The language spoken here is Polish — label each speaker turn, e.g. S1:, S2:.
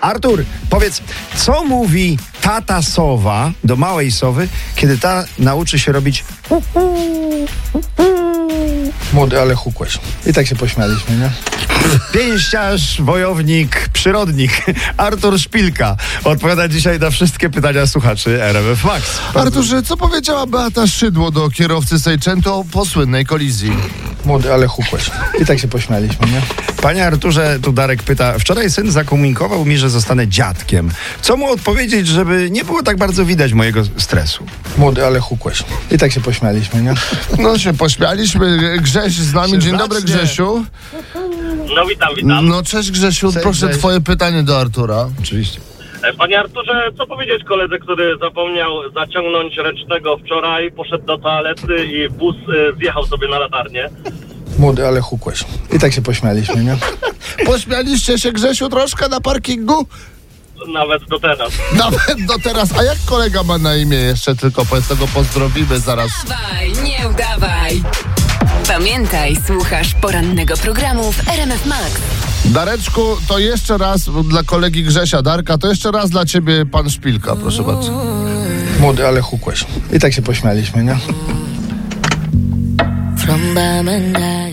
S1: Artur, powiedz, co mówi tata sowa do małej sowy, kiedy ta nauczy się robić
S2: Młody, ale hukłeś. I tak się pośmialiśmy, nie?
S1: pięściarz, wojownik, przyrodnik? Artur Szpilka odpowiada dzisiaj na wszystkie pytania słuchaczy RMF Max.
S3: Arturze, co powiedziała Beata Szydło do kierowcy Sejczęto po słynnej kolizji?
S2: Młody, ale hukłeś. I tak się pośmialiśmy, nie?
S1: Panie Arturze, tu Darek pyta, wczoraj syn zakomunikował mi, że zostanę dziadkiem. Co mu odpowiedzieć, żeby nie było tak bardzo widać mojego stresu?
S2: Młody, ale hukłeś. I tak się pośmialiśmy, nie?
S3: No się pośmialiśmy, Grześ z nami. Dzień dobry
S1: zacznie.
S3: Grzesiu.
S4: No witam, witam.
S3: No cześć Grzesiu, proszę
S2: Grześ.
S3: twoje pytanie do Artura.
S1: Oczywiście.
S4: E, Panie Arturze, co powiedzieć koledze, który zapomniał zaciągnąć ręcznego wczoraj, poszedł do toalety i bus e, zjechał sobie na latarnię?
S2: Młody, ale hukłeś. I tak się pośmialiśmy, nie?
S3: Pośmialiście się Grzesiu troszkę na parkingu?
S4: Nawet do teraz.
S3: Nawet do teraz. A jak kolega ma na imię jeszcze tylko? Powiedz tego pozdrowimy zaraz.
S5: Wstawaj, nie udawaj. Pamiętaj, słuchasz porannego programu w RMF Max.
S3: Dareczku, to jeszcze raz dla kolegi Grzesia Darka, to jeszcze raz dla ciebie pan Szpilka, proszę bardzo.
S2: Młody, ale hukłeś. I tak się pośmialiśmy, nie?
S6: From Birmingham.